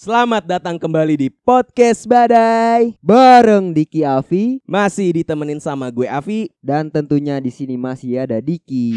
Selamat datang kembali di Podcast Badai. bareng Diki Avi Masih ditemenin sama gue Avi. dan tentunya di sini masih ada Diki.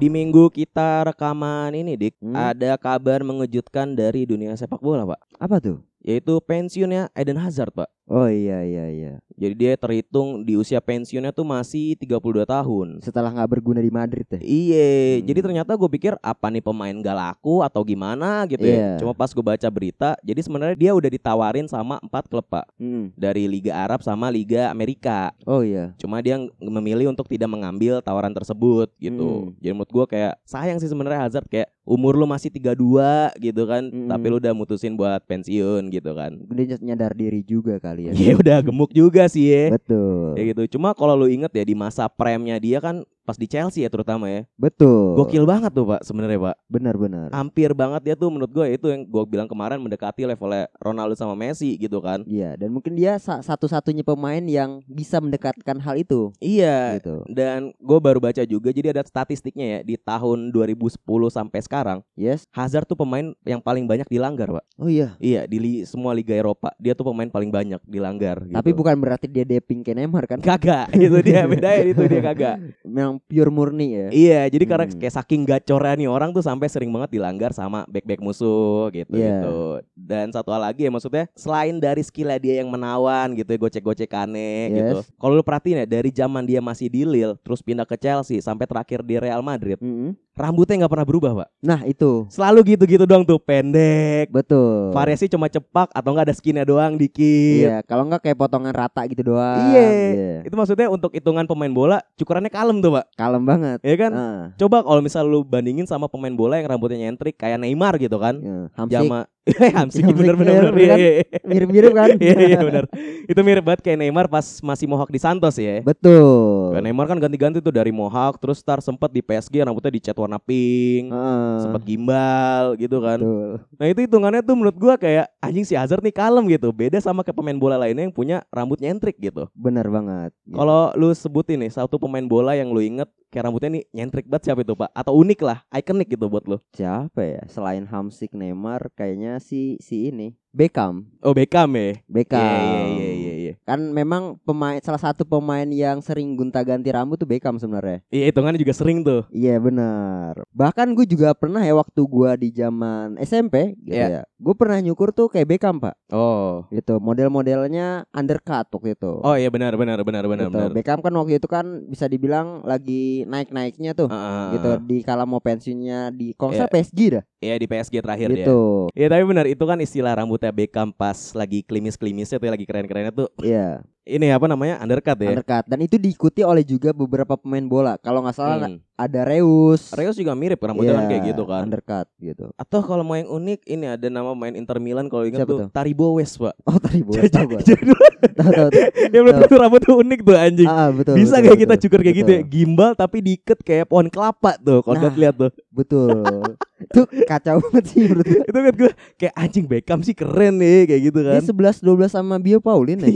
Di minggu kita rekaman ini, Dik, Hmm. ada kabar mengejutkan dari dunia sepak bola, Pak. Apa tuh? Yaitu pensiunnya Eden Hazard, Pak. Oh iya iya iya. Jadi dia terhitung di usia pensiunnya tuh masih 32 tahun. Setelah nggak berguna di Madrid ya. Iye, Hmm. jadi ternyata gue pikir apa nih pemain gak laku atau gimana gitu ya. Iya. Cuma pas gue baca berita, jadi sebenarnya dia udah ditawarin sama empat klub, Pak. Dari Liga Arab sama Liga Amerika. Oh iya. cuma dia ng- memilih untuk tidak mengambil tawaran tersebut gitu. Hmm. Jadi menurut gua kayak sayang sih sebenarnya Hazard kayak umur lu masih 32 gitu kan, Hmm. tapi lu udah mutusin buat pensiun gitu kan. Dia nyadar diri juga kali ya. Ya udah gemuk juga sih ya. Betul. Ya gitu. Cuma kalau lu inget ya di masa premnya dia kan pas di Chelsea ya terutama ya. Betul. Gokil Ah. banget tuh, Pak, sebenarnya, Pak. Benar-benar. Hampir banget dia tuh menurut gua itu yang gua bilang kemarin mendekati levelnya Ronaldo sama Messi gitu kan. Iya, dan mungkin dia sa- satu-satunya pemain yang bisa mendekatkan hal itu Iya. gitu. Dan gue baru baca juga, jadi ada statistiknya ya di tahun 2010 sampai sekarang Yes. Hazard tuh pemain yang paling banyak dilanggar, Pak. Oh iya. Iya, di li- semua liga Eropa dia tuh pemain paling banyak dilanggar gitu. Tapi bukan berarti dia deping ke Neymar kan? kagak, itu dia bedanya itu dia kagak. Memang pure murni ya. Iya, jadi karena Hmm. kayak saking gacornya nih orang tuh sampai sering banget dilanggar sama back-back musuh gitu Iya. gitu. Dan satu hal lagi ya maksudnya selain dari skillnya dia yang menawan gitu ya gocek-gocekannya Yes. gitu. Kalau lu perhatiin ya dari zaman dia masih di Lille terus pindah ke Chelsea sampai terakhir di Real Madrid, Mm-mm. rambutnya nggak pernah berubah, Pak. Nah, itu. Selalu gitu-gitu doang tuh, pendek, Betul. Variasi cuma cepak atau enggak ada skinnya doang dikit. Iya, kalau nggak kayak potongan rata gitu doang. Iya. Itu maksudnya untuk hitungan pemain bola cukurannya kalem tuh, Pak. Kalem banget. Ya kan? Nah, Coba kalau misal lu bandingin sama pemain bola yang rambutnya nyentrik kayak Neymar gitu kan. ya. Hamsik Jama eh Hamsik Hamsik, bener bener bener. bener, Iya, kan? iya, mirip-mirip kan? iya. Iya iya bener. Itu mirip banget kayak Neymar pas masih mohawk di Santos ya. Betul. Kayak Neymar kan ganti-ganti tuh dari mohawk terus star sempet di PSG rambutnya dicat warna pink, Heeh. sempet kan? gimbal gitu kan. Betul. Nah itu hitungannya tuh menurut gua kayak anjing si Hazard nih kalem gitu. Beda sama kayak pemain bola lainnya yang punya rambut nyentrik gitu. Benar banget. Kalau lu sebutin nih satu pemain bola yang lu inget kayak rambutnya nih nyentrik banget siapa itu pak? Atau unik lah, ikonik gitu buat lu. siapa ya? Selain Hamsik Neymar kayaknya si si ini Beckham. Oh Beckham ya? Beckham. Iya iya iya iya. iya. Kan memang pemain salah satu pemain yang sering gunta-ganti rambut tuh Beckham sebenarnya. Iya hitungannya juga sering tuh. Iya benar. Bahkan gue juga pernah ya waktu gua di zaman SMP gitu Iya. ya. Gue pernah nyukur tuh kayak Beckham, Pak. Oh. Gitu, model-modelnya undercut waktu itu. Oh iya benar benar benar benar Gitu. benar. Beckham kan waktu itu kan bisa dibilang lagi naik-naiknya tuh. Ah, gitu di kala mau pensiunnya di kalau Iya. nggak salah PSG dah Iya di PSG terakhir dia. gitu Iya tapi benar itu kan istilah rambutnya Beckham pas lagi klimis-klimisnya tuh lagi keren-kerennya tuh. ya Ini apa namanya undercut ya? undercut dan itu diikuti oleh juga beberapa pemain bola kalau nggak salah Hmm. ada Reus Reus juga mirip rambutnya kan Iya, kayak gitu kan. undercut gitu Atau kalau mau yang unik ini ada nama main Inter Milan kalau ingat Siapa tuh tuh? Taribo West, Pak. oh tadi boleh tahu gua Jadi, tahu tahu tahu. ya menurut gua rambut tuh unik tuh anjing. ah betul Bisa betul, kayak betul. kita cukur kayak gitu ya, Betul. gimbal tapi diikat kayak pohon kelapa tuh kalau Nah. nah. lihat tuh. betul itu kacau banget sih menurut gua Itu kan gua kayak anjing Beckham sih keren nih kayak gitu dia kan. Iya. 11 12 sama Bio Paulin ya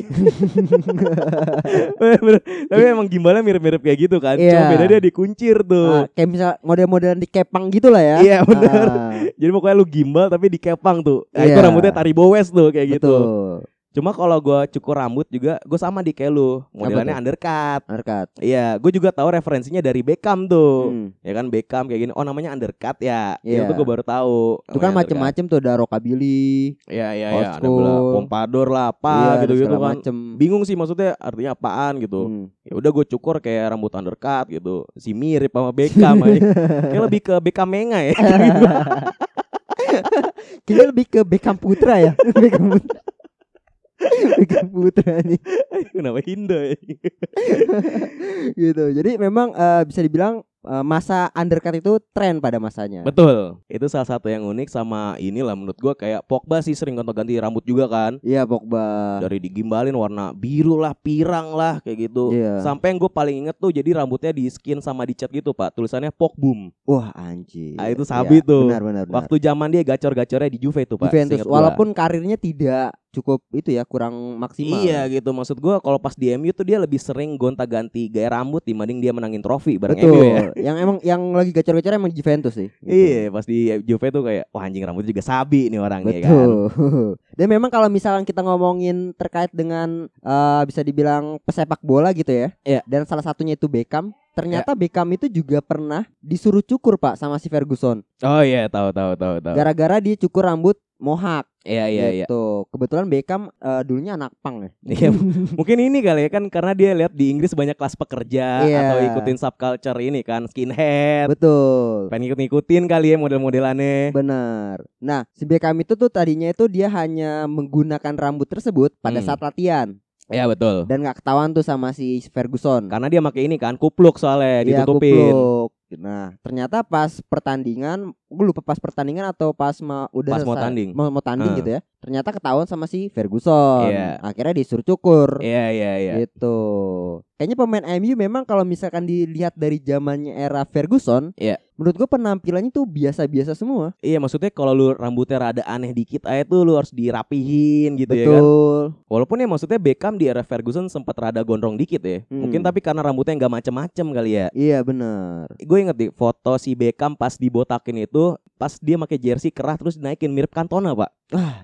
Bener. tapi emang gimbalnya mirip-mirip kayak gitu kan. Cuma Iya. beda dia dikuncir Ah, tuh. kayak misal model-modelan di Kepang gitu lah ya Iya benar. Ah, Jadi pokoknya lu gimbal tapi dikepang tuh. Nah, itu Iya. rambutnya Taribo West tuh kayak gitu. betul Cuma kalau gua cukur rambut juga gua sama di kayak lu, modelannya tuh? undercut. undercut Iya, gue juga tahu referensinya dari Beckham tuh. Hmm. Ya kan Beckham kayak gini. Oh, namanya undercut ya. Iya. Itu gue baru tahu. itu Namanya kan undercut. macem-macem tuh ada rockabilly Iya, iya, Old iya. Ada bola school. pompadour lah iya, apa dan gitu-gitu segala kan. macem. Bingung sih maksudnya artinya apaan gitu. Hmm. Ya udah gue cukur kayak rambut undercut gitu. Si mirip sama Beckham aja. Kayak lebih ke Beckham Menga ya. Kayaknya lebih ke Beckham Putra ya. Beckham Putra. Beckham Putra nih. Kenapa Hinda ya? Gitu. Jadi memang eh, bisa dibilang eh, masa undercut itu tren pada masanya. Betul. Itu salah satu yang unik sama inilah menurut gua kayak Pogba sih sering gonta-ganti rambut juga kan. Iya Pogba. Dari digimbalin warna biru lah, pirang lah kayak gitu. Iya. Sampai yang gue paling inget tuh jadi rambutnya di skin sama dicat gitu pak Tulisannya Pogboom Wah anjir. Ah, itu sabi Iya, tuh. Benar benar. benar. Waktu zaman dia gacor-gacornya di Juve tuh pak Juventus seingat gua. walaupun karirnya tidak cukup itu ya kurang maksimal. Iya gitu maksud gua kalau pas di MU tuh dia lebih sering gonta-ganti gaya rambut dibanding dia menangin trofi bareng Betul. MU ya Yang emang yang lagi gacor-gacor emang di Juventus sih. Gitu. Iya pas di Juve tuh kayak wah anjing rambutnya juga sabi nih orang ya kan Betul. Dan memang kalau misalkan kita ngomongin terkait dengan eh, bisa dibilang pesepak bola gitu ya. Iya. Dan salah satunya itu Beckham. Ternyata Beckham itu juga pernah disuruh cukur Pak sama si Ferguson. Oh iya tahu tahu tahu tahu Gara-gara dia cukur rambut mohak Iya iya iya gitu. Kebetulan Beckham eh, dulunya anak pang ya. Iya, mungkin ini kali ya kan karena dia lihat di Inggris banyak kelas pekerja Iya. atau ikutin subculture ini kan skinhead, Betul. pengen ikut-ikutin kali ya model-modelannya. Benar. Nah, si Beckham itu tuh tadinya itu dia hanya menggunakan rambut tersebut pada Hmm. saat latihan Iya betul. dan nggak ketahuan tuh sama si Ferguson. Karena dia pakai ini kan kupluk soalnya Iya, ditutupin. kupluk. Nah, ternyata pas pertandingan, gue lupa pas pertandingan atau pas mau udah Pas mau selesai- tanding. mau, mau tanding Ah. gitu ya. Ternyata ketahuan sama si Ferguson. Iya. Akhirnya disuruh cukur. Iya iya iya. Gitu. Kayaknya pemain MU memang kalau misalkan dilihat dari zamannya era Ferguson, Iya. menurut gue penampilannya tuh biasa-biasa semua. Iya maksudnya kalau lu rambutnya rada aneh dikit aja tuh lu harus dirapihin gitu ya kan. Betul. Walaupun ya maksudnya Beckham di era Ferguson sempat rada gondrong dikit ya. Hmm. Mungkin tapi karena rambutnya nggak macem-macem kali ya. Iya benar. Gue inget nih foto si Beckham pas dibotakin itu pas dia pakai jersey kerah terus naikin mirip Cantona pak.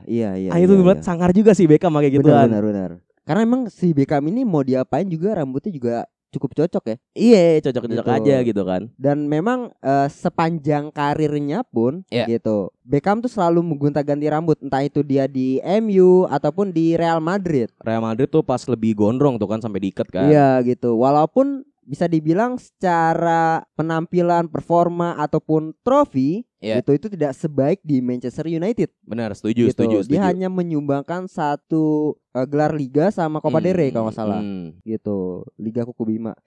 Iya iya. ah itu iya, buat iya. sangar juga sih Beckham gitu kan. pakai Benar, gituan. benar benar. Karena emang si Beckham ini mau diapain juga rambutnya juga cukup cocok ya. Iya cocok-cocok Gitu. aja gitu kan. dan memang eh, sepanjang karirnya pun Iya. gitu Beckham tuh selalu menggonta-ganti rambut entah itu dia di MU ataupun di Real Madrid Real Madrid tuh pas lebih gondrong tuh kan sampai diikat kan. iya gitu walaupun bisa dibilang secara penampilan performa ataupun trofi Iya. gitu itu tidak sebaik di Manchester United Benar setuju gitu setuju setuju. dia hanya menyumbangkan satu eh, gelar liga sama Copa del Rey Hmm, kalau nggak salah hmm. gitu liga Kukubima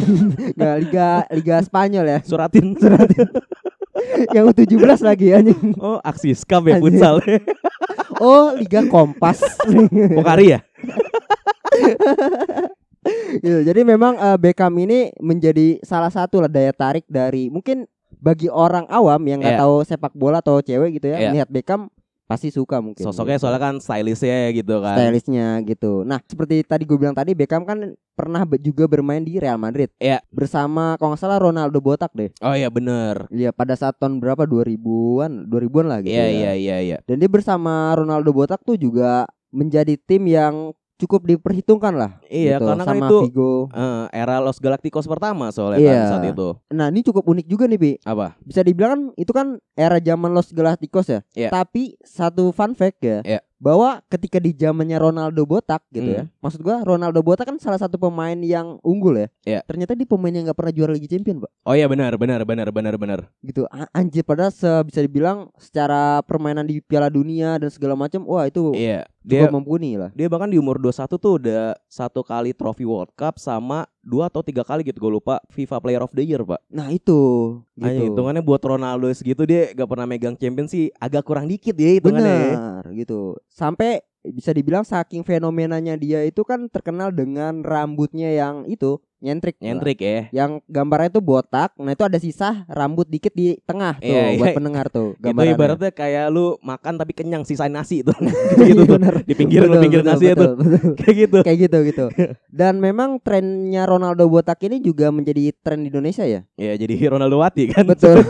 nggak liga liga Spanyol ya Suratin. yang 17 lagi anjing Oh aksi skam ya Anjing. futsal. Oh, Liga Kompas. Pokari ya. Gitu, Jadi memang eh, Beckham ini menjadi salah satu lah daya tarik dari mungkin bagi orang awam yang nggak Iya. tahu sepak bola atau cewek gitu ya, Iya. melihat Beckham pasti suka mungkin. Sosoknya gitu. soalnya kan stylishnya gitu kan. stylishnya gitu. Nah, seperti tadi gue bilang tadi Beckham kan pernah be- juga bermain di Real Madrid. Iya. Bersama kalau nggak salah Ronaldo botak deh. Oh iya bener. Iya, pada saat tahun berapa 2000-an, 2000-an lah gitu. Iya ya. iya iya iya. Dan dia bersama Ronaldo botak tuh juga menjadi tim yang cukup diperhitungkan lah Iya gitu, karena kan sama itu Vigo. eh, era Los Galacticos pertama soalnya Iya. kan saat itu. Nah ini cukup unik juga nih Bi Apa? Bisa dibilang kan itu kan era zaman Los Galacticos ya Iya. Tapi satu fun fact ya Iya. Bahwa ketika di zamannya Ronaldo botak gitu Hmm. ya Maksud gua Ronaldo botak kan salah satu pemain yang unggul ya Iya. Ternyata dia pemain yang gak pernah juara Liga Champion Pak Oh iya benar benar benar benar benar. gitu A- anjir padahal se- bisa dibilang secara permainan di Piala Dunia dan segala macam wah itu Iya. juga Dia mumpuni lah dia bahkan di umur 21 tuh udah satu kali trofi World Cup sama dua atau tiga kali gitu gue lupa FIFA Player of the Year pak. nah itu gitu Anjing, hitungannya buat Ronaldo segitu dia gak pernah megang champion sih agak kurang dikit ya hitungannya. Benar gitu. Sampai bisa dibilang saking fenomenanya dia itu kan terkenal dengan rambutnya yang itu nyentrik. Nyentrik ya. Yang gambarnya itu botak, nah itu ada sisa rambut dikit di tengah tuh Iya, buat iya. pendengar tuh Itu gambarannya. ibaratnya kayak lu makan tapi kenyang sisain nasi tuh. gitu tuh. Iya, Benar. Di pinggiran Betul, lu pinggirin betul, nasi ya betul, tuh. betul. Kayak gitu. Kayak gitu gitu. Dan memang trennya Ronaldo botak ini juga menjadi tren di Indonesia ya. Ya jadi Ronaldo Wati kan. Betul.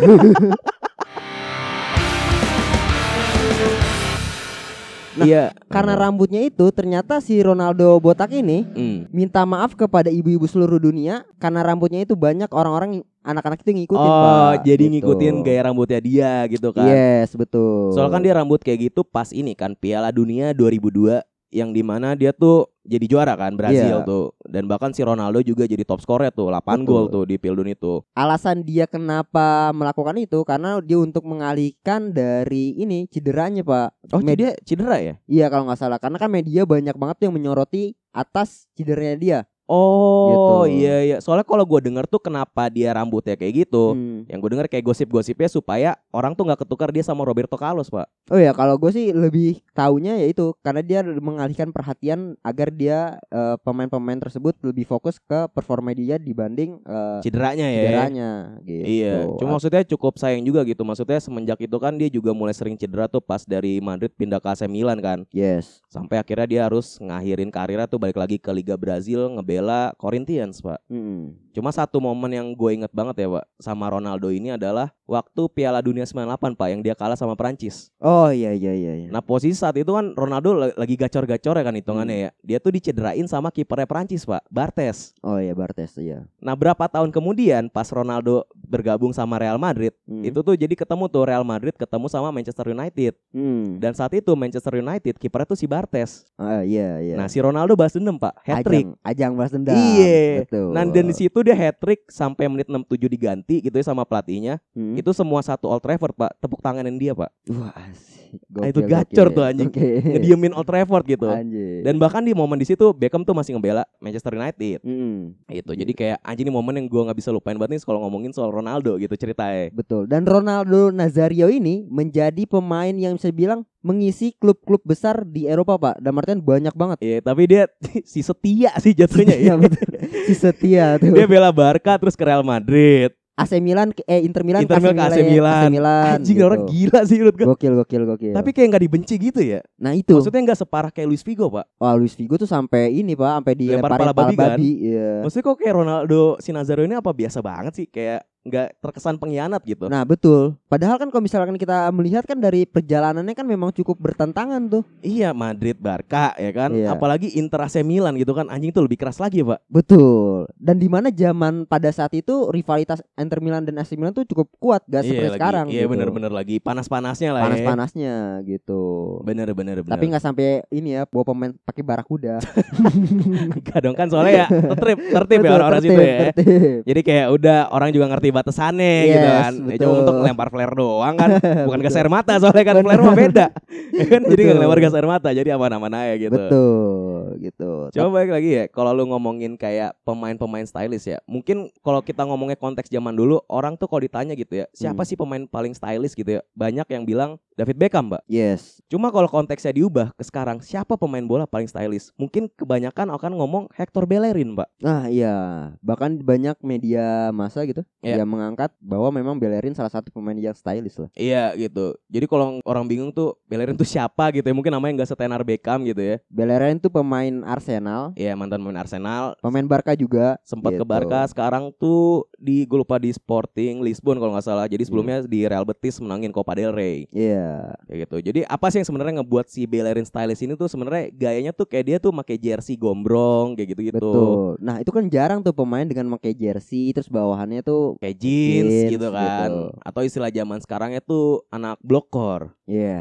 Nah, Iya. Karena rambutnya itu ternyata si Ronaldo botak ini Hmm. minta maaf kepada ibu-ibu seluruh dunia karena rambutnya itu banyak orang-orang anak-anak itu ngikutin oh, Pak. jadi Gitu. Iya. ngikutin gaya rambutnya dia gitu kan. yes betul Soalnya kan dia rambut kayak gitu pas ini kan Piala Dunia 2002 yang dimana dia tuh jadi juara kan Brazil Iya. tuh dan bahkan si Ronaldo juga jadi top skornya tuh 8 Betul. gol tuh di Piala Dunia itu. alasan dia kenapa melakukan itu karena dia untuk mengalihkan dari ini cederanya pak Oh, Med- jadi dia cedera ya? iya kalau nggak salah karena kan media banyak banget tuh yang menyoroti atas cederanya dia Oh Gitu. iya iya. Soalnya kalau gue denger tuh kenapa dia rambutnya kayak gitu. Hmm. Yang gue denger kayak gosip-gosipnya supaya orang tuh nggak ketukar dia sama Roberto Carlos pak. Oh ya kalau gue sih lebih taunya ya itu karena dia mengalihkan perhatian agar dia eh, pemain-pemain tersebut lebih fokus ke performa dia dibanding eh, Cederanya ya. cederanya gitu. Iya, cuma maksudnya cukup sayang juga gitu. Maksudnya semenjak itu kan dia juga mulai sering cedera tuh pas dari Madrid pindah ke AC Milan kan. yes. Sampai akhirnya dia harus ngakhirin karirnya tuh balik lagi ke Liga Brazil ngebela Corinthians, Pak. Mm-mm. Cuma satu momen yang gue inget banget ya, Pak, sama Ronaldo ini adalah waktu Piala Dunia 98, Pak, yang dia kalah sama Prancis. Oh iya iya iya. iya. Nah, posisi saat itu kan Ronaldo la- lagi gacor-gacor ya kan hitungannya ya. Dia tuh dicederain sama kipernya Prancis, Pak, Bartes. Oh iya Bartes iya. Nah, berapa tahun kemudian pas Ronaldo bergabung sama Real Madrid Mm. itu tuh jadi ketemu tuh Real Madrid ketemu sama Manchester United Mm. dan saat itu Manchester United kipernya tuh si Bartes. Ah, iya iya. Nah si Ronaldo balas dendam pak, hat trick. Ajang, ajang balas dendam. Iya. Betul. Nah dan di situ dia hat trick sampai menit 67 diganti gitu ya sama pelatihnya. Mm. Itu semua satu Old Trafford pak, tepuk tanganin dia pak, Wah asik. Ah, itu gacor tuh, anjing. Oke. ngediemin Old Trafford gitu. Anjing. Dan bahkan di momen di situ Beckham tuh masih ngebela Manchester United. Mm-mm. Itu jadi Iya. kayak anjing ini momen yang gua nggak bisa lupain banget nih kalau ngomongin soal Ronaldo gitu ceritanya. Betul. Dan Ronaldo Nazario ini menjadi pemain yang bisa bilang mengisi klub-klub besar di Eropa, Pak. Dan Martin banyak banget. Iya, tapi dia si setia sih jatuhnya ya. Iya, betul. si setia Dia tuh. bela Barca terus ke Real Madrid. AC Milan ke- eh Inter Milan Inter Milan ke AC Milan. Anjing gitu. orang gila sih menurut gue. Gokil gokil gokil. Tapi kayak nggak dibenci gitu ya. nah itu. Maksudnya nggak separah kayak Luis Figo pak. Wah, Luis Figo tuh sampai ini, Pak, sampai di Dilempar pala pala babi, babi. kan? Iya. Maksudnya kok kayak Ronaldo Sinazaro ini apa biasa banget sih kayak nggak terkesan pengkhianat gitu. Nah, betul. Padahal kan kalau misalkan kita melihat kan dari perjalanannya kan memang cukup bertentangan tuh. Iya Madrid Barca ya kan. Iya. Apalagi Inter AC Milan gitu kan anjing tuh lebih keras lagi pak. Betul. Dan di mana zaman pada saat itu rivalitas Inter Milan dan AC Milan tuh cukup kuat gak lagi, seperti sekarang. Iya gitu. bener-bener lagi panas-panasnya lah. ya. Panas-panasnya gitu. Bener-bener. bener. Tapi nggak sampai ini ya bawa pemain pakai barakuda. nggak dong kan soalnya ya tertib tertib ya Betul, orang-orang tertib, situ ya. tertib. Jadi kayak udah orang juga ngerti batasannya gitu Yes, kan. Ya, Cuma betul. untuk lempar flare doang kan, bukan Betul. gas air mata soalnya kan flare mah beda. Ya kan jadi nggak Betul. lempar gas air mata, jadi aman-aman aja gitu. Betul gitu. Coba balik lagi ya, kalau lu ngomongin kayak pemain-pemain stylish ya, mungkin kalau kita ngomongnya konteks zaman dulu, orang tuh kalau ditanya gitu ya, siapa Hmm. sih pemain paling stylish gitu ya? Banyak yang bilang David Beckham, Mbak. Yes. Cuma kalau konteksnya diubah ke sekarang, siapa pemain bola paling stylish? Mungkin kebanyakan akan ngomong Hector Bellerin, Mbak. Nah, iya. Bahkan banyak media masa gitu Iya. yang mengangkat bahwa memang Bellerin salah satu pemain yang stylish lah. Iya gitu. Jadi kalau orang bingung tuh Bellerin tuh siapa gitu ya. Mungkin namanya nggak setenar Beckham gitu ya. Bellerin tuh pemain Arsenal, Iya mantan pemain Arsenal. pemain Barca juga. Sempat ke Gitu. Barca. Sekarang tuh di gue lupa di Sporting Lisbon kalau nggak salah. Jadi sebelumnya di Real Betis menangin Copa del Rey Iya. kayak gitu. Jadi apa sih yang sebenarnya ngebuat si Bellerin stylish ini tuh sebenarnya gayanya tuh kayak dia tuh pakai jersey gombrong kayak gitu-gitu. Betul. Nah, itu kan jarang tuh pemain dengan pakai jersey terus bawahannya tuh Kayak jeans, Jeans, gitu kan. gitu. Atau istilah zaman sekarangnya tuh anak blokor. iya.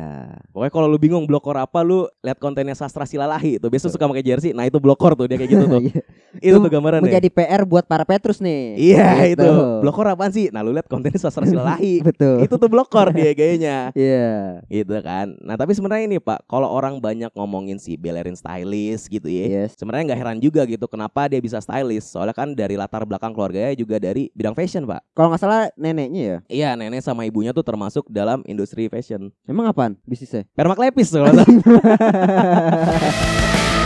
Pokoknya kalau lu bingung blokor apa lu lihat kontennya Sastra Silalahi tuh. Biasa suka pakai jersey. Nah, itu blokor tuh dia kayak gitu tuh. Iya. itu Itu tuh gambaran Menjadi PR buat para Petrus nih. Iya Gitu. itu blokor apaan sih? Nah lu lihat kontennya sastra silalahi Betul. itu tuh blokor dia gayanya Iya. gitu kan. Nah tapi sebenarnya ini pak, kalau orang banyak ngomongin si Bellerin stylish gitu ya. Yes. Sebenarnya nggak heran juga gitu kenapa dia bisa stylish. Soalnya kan dari latar belakang keluarganya juga dari bidang fashion pak. Kalau nggak salah neneknya ya. Iya nenek sama ibunya tuh termasuk dalam industri fashion. Emang apaan bisnisnya? Permak lepis tuh kalau nggak salah.